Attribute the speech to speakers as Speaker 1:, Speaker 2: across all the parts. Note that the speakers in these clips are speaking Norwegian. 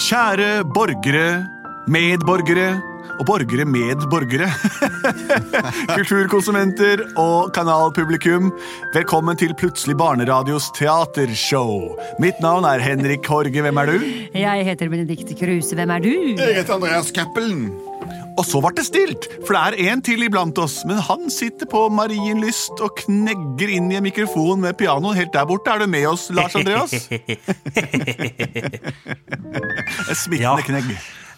Speaker 1: Kjære borgere, medborgere og borgere med borgere. Kulturkonsumenter og kanalpublikum. Velkommen til Plutselig barneradios teatershow. Mitt navn er Henrik Horge. Hvem er du?
Speaker 2: Jeg heter Benedikte Kruse. Hvem er du?
Speaker 3: Jeg heter Andreas Cappelen.
Speaker 1: Og så ble det stilt, for det er en til iblant oss. Men han sitter på Marienlyst og knegger inn i en mikrofon med pianoen helt der borte. Er du med oss, Lars Andreas? Et
Speaker 4: Ja.
Speaker 1: Smittende knegg.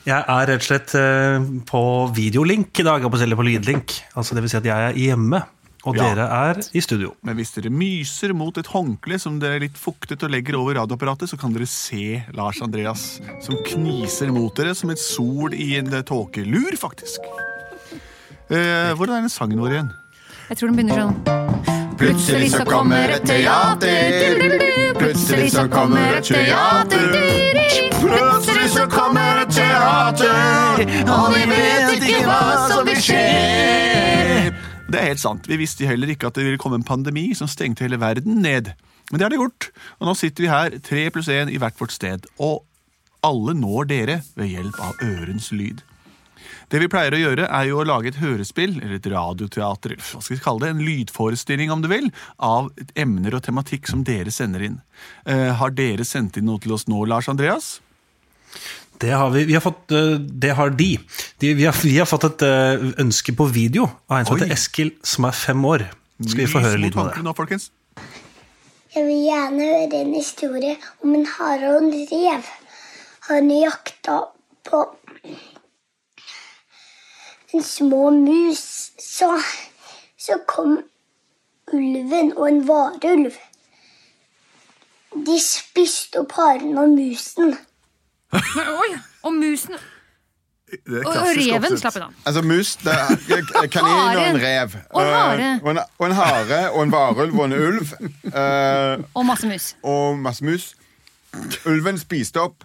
Speaker 4: Jeg er rett og slett eh, på videolink i dag, og på selv på lydlink. Altså, det vil si at jeg er hjemme, og
Speaker 1: Ja.
Speaker 4: dere er i studio.
Speaker 1: Men hvis dere myser mot et håndkle som dere er litt fuktet og legger over radioapparatet, så kan dere se Lars Andreas som kniser mot dere som et sol i en tåkelur, faktisk. Eh, hvordan er den sangen vår igjen?
Speaker 2: Jeg tror den begynner sånn.
Speaker 3: Plutselig så kommer et teater. Plutselig så kommer et teater. Plutselig så kommer et teater. Og vi vet ikke hva som vil skje.
Speaker 1: Det er helt sant. Vi visste heller ikke at det ville komme en pandemi som stengte hele verden ned. Men det har det gjort. Og nå sitter vi her, tre pluss én i hvert vårt sted. Og alle når dere ved hjelp av ørens lyd. Det vi pleier å gjøre, er jo å lage et hørespill, eller et radioteater, eller hva skal vi kalle det, en lydforestilling, om du vil, av emner og tematikk som dere sender inn. Eh, har dere sendt inn noe til oss nå, Lars Andreas?
Speaker 4: Det har vi. vi har fått, eh, det har de. de vi, har, vi har fått et eh, ønske på video av en som
Speaker 1: Oi.
Speaker 4: heter Eskil, som er fem år. Skal vi få
Speaker 1: Lys
Speaker 4: høre
Speaker 1: mot
Speaker 4: lyden av
Speaker 1: håndkleet
Speaker 4: det?
Speaker 1: Nå, folkens.
Speaker 5: Jeg vil gjerne høre en historie om en hare og en rev. Han jakta på en små mus. Så, så kom ulven og en varulv. De spiste opp haren og musen.
Speaker 2: Oi, og musen
Speaker 1: Det er
Speaker 2: og
Speaker 1: klassisk
Speaker 2: reven
Speaker 1: oppsett.
Speaker 2: slapp hun av.
Speaker 3: Altså mus, det er k- kanin og en rev.
Speaker 2: Og hare.
Speaker 3: Eh, Og en, og en hare og en varulv og en ulv. eh,
Speaker 2: Og masse mus.
Speaker 3: Og masse mus. Ulven spiste opp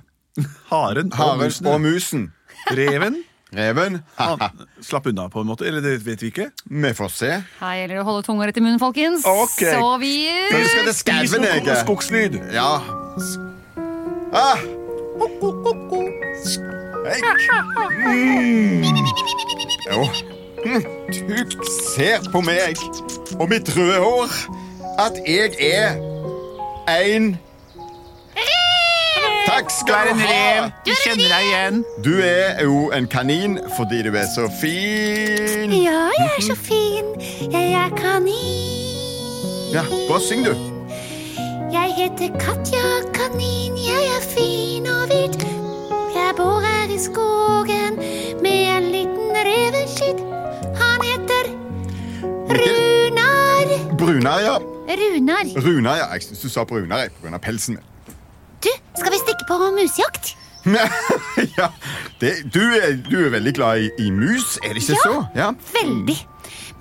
Speaker 1: Haren og
Speaker 3: haren
Speaker 1: musen.
Speaker 3: og musen.
Speaker 1: Reven
Speaker 3: Reven haha,
Speaker 1: han slapp unna, på en måte. Eller det vet vi ikke.
Speaker 3: Vi får se.
Speaker 2: Her gjelder det å holde tunga rett i munnen, folkens.
Speaker 3: Ok.
Speaker 2: Så vi
Speaker 3: Men du skal til skauen, jeg.
Speaker 1: Skogslyd.
Speaker 3: Ja. Ah. Eik. Mm. Jo. Mm. Du ser på meg og mitt røde hår at jeg er en Takk skal du ha!
Speaker 1: Vi kjenner deg igjen.
Speaker 3: Du er jo en kanin fordi du er så fin.
Speaker 6: Ja, jeg er så fin. Jeg er kanin.
Speaker 3: Ja, Bare syng, du.
Speaker 6: Jeg heter Katja Kanin. Jeg er fin og hvit. Jeg bor her i skogen med en liten reveskitt. Han heter Runar.
Speaker 3: Brunar, ja.
Speaker 6: Runar,
Speaker 3: Runar, ja. Jeg syns du sa Brunar jeg, på grunn av pelsen min.
Speaker 6: du, skal vi stikke på musejakt?
Speaker 3: ja, det, du, er, du er veldig glad i, i mus, er det ikke
Speaker 6: Ja.
Speaker 3: så? Ja.
Speaker 6: Veldig.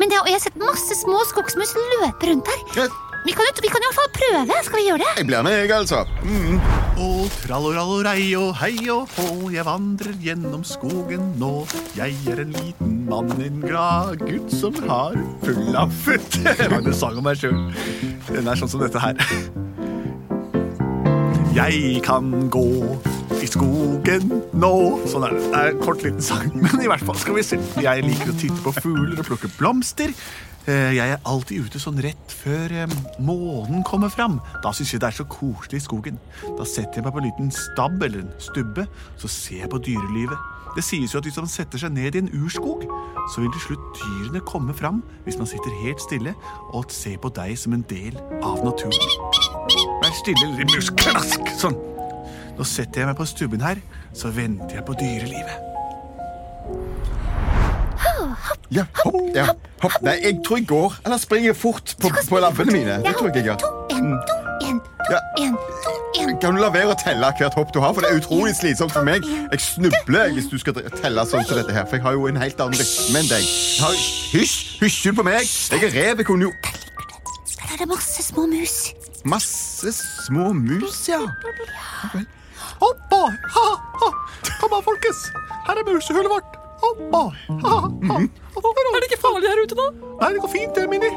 Speaker 6: Men det, og jeg har sett masse små skogsmus løpe rundt her.
Speaker 3: Greit.
Speaker 6: Vi kan, jo- vi kan i hvert fall prøve. Skal vi gjøre det?
Speaker 3: Jeg blir med, jeg, altså. Mm.
Speaker 1: Og trallorallorei og hei og hå, jeg vandrer gjennom skogen nå. Jeg er en liten mann, en glad gutt som har full av futt. Jeg lagde en sang om meg sjøl. Den er sånn som dette her. Jeg kan gå i skogen nå. Sånn er det. Det er en kort, liten sang, men i hvert fall skal vi se. Jeg liker å titte på fugler og plukke blomster. Eh, Jeg er alltid ute sånn rett før eh, månen kommer fram. Da syns jeg det er så koselig i skogen. Da setter jeg meg på en liten stabb eller en stubbe, så ser jeg på dyrelivet. Det sies jo at hvis man setter seg ned i en urskog, så vil til slutt dyrene komme fram hvis man sitter helt stille og ser på deg som en del av naturen. Vær stille, lille mus. Klask! Sånn. Nå setter jeg meg på stubben her, så venter jeg på dyrelivet.
Speaker 3: Ja, hopp, ja, hopp. Nei, jeg tror jeg går. Eller springer fort på, på labbene mine. Det tror jeg jeg
Speaker 6: To,
Speaker 3: gjør.
Speaker 6: en, to, en, to,
Speaker 3: Ja.
Speaker 6: en, to, en.
Speaker 3: Kan du la være å telle hvert hopp du har? For det er utrolig slitsomt for meg. Jeg snubler hvis du skal telle sånn som dette her. For jeg har jo en helt annen rytme enn deg. Jeg har- Hysj! Hysj på meg! Jeg er rev. Jeg kunne jo
Speaker 6: Der er det masse små mus.
Speaker 3: Masse små mus, ja.
Speaker 1: Hoppa! Ha, ha. Kom an, folkens! Her er musehullet vårt. Hoppa. Ha, ha.
Speaker 7: Er det ikke farlig her ute nå?
Speaker 1: Nei, det går fint, det, Minni.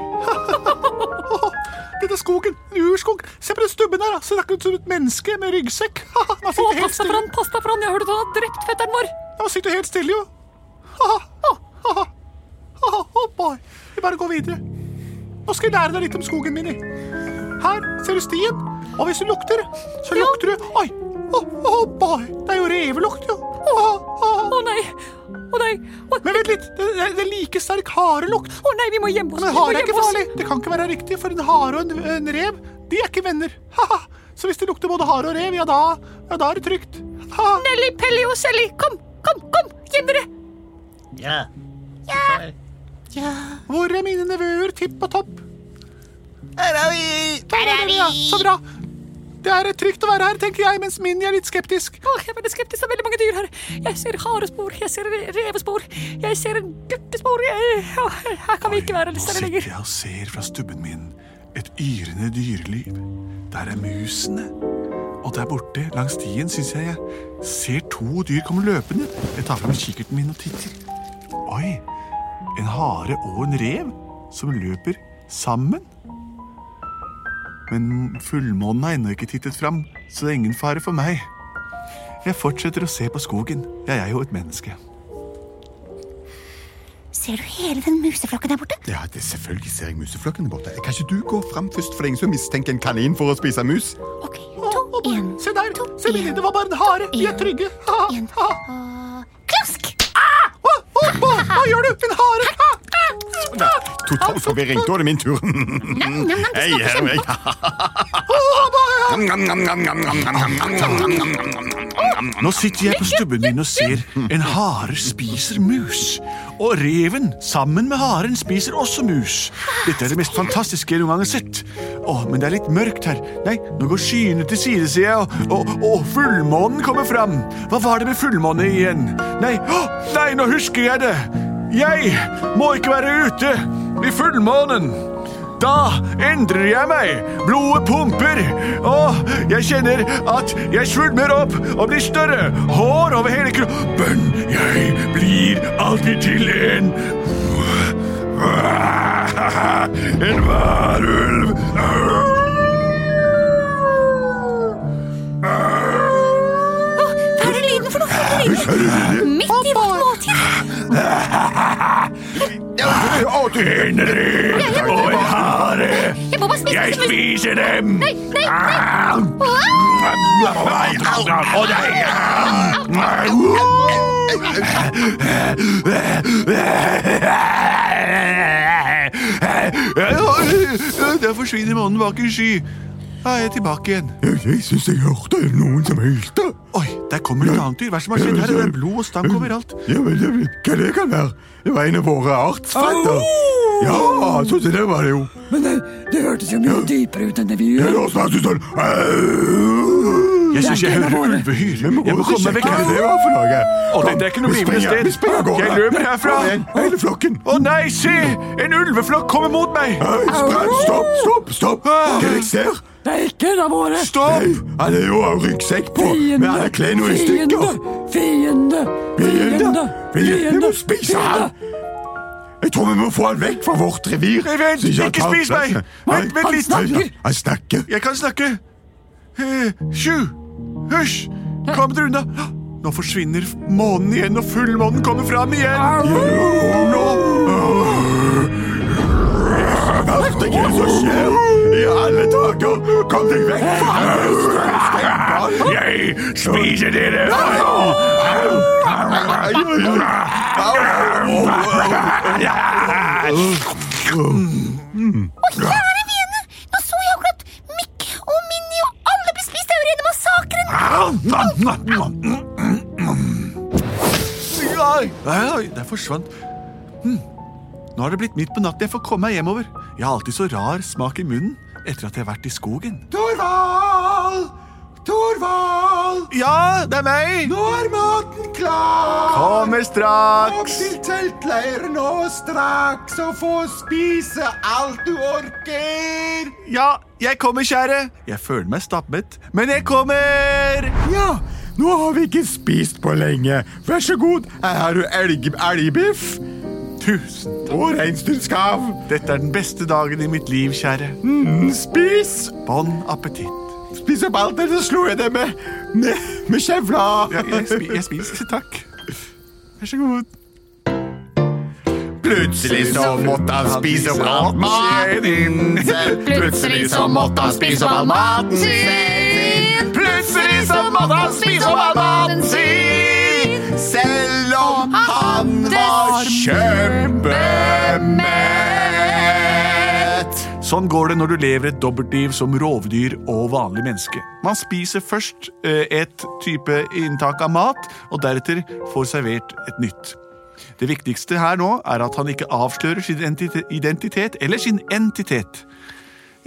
Speaker 1: Denne skogen, en urskog. Se på den stubben der. da. Ser akkurat ut som et menneske med ryggsekk. Man
Speaker 7: Å,
Speaker 1: sitter
Speaker 7: pass deg
Speaker 1: helt
Speaker 7: for
Speaker 1: stille,
Speaker 7: han, pass deg for han. Jeg hørte at han har drept fetteren vår.
Speaker 1: Man sitter helt stille jo. Hoppa. oh Vi bare går videre. Nå skal jeg lære deg litt om skogen, Minni. Her ser du stien, og hvis du lukter, så
Speaker 7: Ja.
Speaker 1: lukter du Oi! Å, å, oh boy. Det er jo revelukt, jo. Å, å.
Speaker 7: Å nei. Å nei. Å
Speaker 1: Men vent litt, det, det, det er like sterk harelukt.
Speaker 7: å, nei, vi må gjemme oss. Vi
Speaker 1: Men en
Speaker 7: må
Speaker 1: hare er ikke
Speaker 7: gjemme oss.
Speaker 1: farlig. Det kan ikke være riktig, for en hare og en, en rev de er ikke venner. Haha. Så hvis det lukter både hare og rev, ja da, ja, da er det trygt. Haha.
Speaker 7: Nelly, Pelly og Selly, kom, kom, kom. Gjem dere.
Speaker 3: Ja.
Speaker 1: Hvor er mine nevøer Tipp og Topp?
Speaker 3: Her er vi!
Speaker 1: Der er vi! Ja, så bra. Det er trygt å være her, tenker jeg, mens Minni er litt skeptisk.
Speaker 7: Åh, jeg er veldig skeptisk. Det er veldig mange dyr her. Jeg ser harespor, jeg ser re- revespor, jeg ser en guttespor. Jeg, ja, her kan vi ikke være litt større lenger.
Speaker 1: jeg og ser fra stubben min et yrende dyreliv. Der er musene. Og der borte, langs stien, syns jeg jeg ser to dyr komme løpende. Jeg tar fram kikkerten min og titter. Oi! En hare og en rev som løper sammen. Men fullmånen har ennå ikke tittet fram, så det er ingen fare for meg. Jeg fortsetter å se på skogen. Jeg er jo et menneske.
Speaker 6: Ser du hele den museflokken der borte?
Speaker 3: Ja, det selvfølgelig ser jeg museflokken der borte. Kan ikke du gå fram først, for det er ingen som mistenker en kanin for å spise mus?
Speaker 6: Ok, to, en,
Speaker 1: Se der!
Speaker 6: to,
Speaker 1: Se, Minni,
Speaker 6: en,
Speaker 1: det var bare en hare. Vi er
Speaker 6: en,
Speaker 1: trygge. Ha,
Speaker 6: en.
Speaker 1: ha.
Speaker 6: Og klask!
Speaker 1: Hva, hva, hva, hva gjør du? En hare! Ha, ha.
Speaker 3: Nei, Total forvirring. Da er det min tur.
Speaker 6: Nam, nam, nam, det
Speaker 3: Hei,
Speaker 6: smaker
Speaker 3: hei,
Speaker 6: kjempe.
Speaker 3: hei. Nam, nam, nam, nam, nam, nam, nam, nam, nam, nam, nam, nam, nam, nam.
Speaker 1: Nå sitter jeg på stubben min og ser en hare spiser mus. Og reven, sammen med haren, spiser også mus. Dette er det mest fantastiske jeg noen gang har sett. Åh, men det er litt mørkt her. Nei, nå går skyene til side, sier jeg, og, og, og fullmånen kommer fram. Hva var det med fullmåne igjen? Nei, åh, nei, nå husker jeg det. Jeg må ikke være ute i fullmånen. Da endrer jeg meg. Blodet pumper. Og jeg kjenner at jeg svulmer opp og blir større. Hår over hele kroppen. Jeg blir alltid til en En varulv.
Speaker 6: Hva er det lyden for noe? Hva er det lyden? Midt i vårt måltid.
Speaker 3: Å, du
Speaker 1: Rev og en hare.
Speaker 6: Jeg må bare spise
Speaker 1: Jeg
Speaker 6: det.
Speaker 1: spiser Ah! dem.
Speaker 6: Nei, nei, nei.
Speaker 1: Nei, au, au, nei. Der forsvinner månen bak en sky. Da er jeg tilbake igjen.
Speaker 3: Jeg syns jeg hørte noen som hylte.
Speaker 1: Oi, der kommer et annet dyr. Hva er det som har skjedd her? Det er blod og stank overalt.
Speaker 3: Ja, men jeg vet hva det kan være. Det var en av våre artsfretter. Ja, sånn som det var det jo.
Speaker 8: Men det, det hørtes jo mye dypere ut enn det vi
Speaker 3: Det
Speaker 8: gjør.
Speaker 3: høres meg ut sånn Au!
Speaker 1: Jeg syns jeg hører ulvehyl.
Speaker 3: Vi må gå
Speaker 1: Jeg må
Speaker 3: ut og
Speaker 1: komme meg vekk
Speaker 3: sjekke hva det
Speaker 1: herfra.
Speaker 3: var for noe.
Speaker 1: Å,
Speaker 3: Kom,
Speaker 1: dette er ikke noe
Speaker 3: vi
Speaker 1: blivende
Speaker 3: springer,
Speaker 1: sted.
Speaker 3: Vi springer av gårde.
Speaker 1: Jeg løper herfra.
Speaker 3: Kom igjen, Hele flokken.
Speaker 1: Å nei, se! En ulveflokk kommer mot meg!
Speaker 3: Hei, spreng, Stopp, stopp, stopp. Hva er det jeg ser?
Speaker 8: Det er ikke en av våre!
Speaker 1: Stopp!
Speaker 3: Nei, han er jo av ryggsekk på, men han er kledd noe i stykker.
Speaker 8: Fiende!
Speaker 3: Fiende! Fiende! Vi må spise han! Jeg tror vi må få han vekk fra vårt revir.
Speaker 1: Nei, vent,
Speaker 3: så han
Speaker 1: ikke
Speaker 3: tar
Speaker 1: spis meg! Vent,
Speaker 3: plassen. Nei,
Speaker 1: vent
Speaker 3: han
Speaker 1: litt.
Speaker 3: snakker. Han snakker.
Speaker 1: Jeg kan snakke. Eh, Sju. Hysj. Kom dere unna. Nå forsvinner månen igjen, og fullmånen kommer fram igjen.
Speaker 3: Nå Verf deg hva som skjer. I alle dager, kom deg vekk fra meg! Jeg spiser dere!
Speaker 6: Å, kjære vene! Nå så jeg akkurat Mikk og Minni og alle ble spist. Det er jo rene massakren.
Speaker 1: Oi, oi, oi, der forsvant Hm. Nå har det blitt midt på natten. Jeg får komme meg hjemover. Jeg har alltid så rar smak i munnen etter at jeg har vært i skogen.
Speaker 3: Torvald! Torvald!
Speaker 1: Ja, det er meg!
Speaker 3: Nå er maten klar!
Speaker 1: Kommer
Speaker 3: Opp
Speaker 1: straks!
Speaker 3: til teltleiren og straks og få spise alt du orker!
Speaker 1: Ja, jeg kommer, kjære. Jeg føler meg stappmett, men jeg kommer!
Speaker 3: Ja, Nå har vi ikke spist på lenge. Vær så god, her har du elg, elgbiff
Speaker 1: Tusen takk.
Speaker 3: og reinsdyrskav.
Speaker 1: Dette er den beste dagen i mitt liv, kjære.
Speaker 3: Mm, spis!
Speaker 1: Bon appetitt.
Speaker 3: Spis opp alt, eller så slo jeg det med, med, med kjevla.
Speaker 1: Jeg, jeg, spi- jeg spiser, takk.
Speaker 3: Vær så god. Plutselig så måtte han spise opp all maten sin. Plutselig så måtte han spise opp all maten sin. Plutselig så måtte han spise opp all maten sin. Selv om han var kjempemett.
Speaker 1: Sånn går det når du lever et dobbeltliv som rovdyr og vanlig menneske. Man spiser først eh, et type inntak av mat, og deretter får servert et nytt. Det viktigste her nå er at han ikke avslører sin entite- identitet eller sin entitet.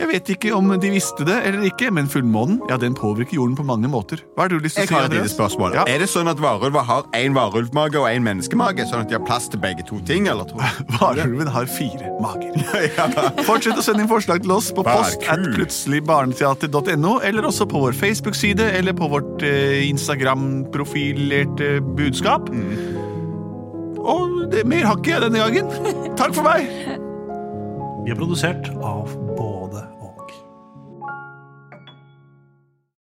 Speaker 1: Jeg vet ikke om de visste det eller ikke, men fullmånen ja, den påvirker jorden på mange måter. Hva har du lyst til å
Speaker 3: Jeg
Speaker 1: si,
Speaker 3: har et lite
Speaker 1: Andreas?
Speaker 3: spørsmål.
Speaker 1: Ja.
Speaker 3: Er det sånn at varulver har én varulvmage og én menneskemage? Sånn at de har plass til begge to ting? eller tror du?
Speaker 1: Varulven har fire mager.
Speaker 3: Ja.
Speaker 1: Fortsett å sende inn forslag til oss på
Speaker 3: Vær
Speaker 1: post at
Speaker 3: kul.
Speaker 1: plutseligbarneteater.no, eller også på vår Facebook-side eller på vårt eh, Instagram-profilerte budskap.
Speaker 3: Mm.
Speaker 1: Og det, mer har ikke jeg denne gangen. Takk for meg!
Speaker 4: Vi er produsert av Bård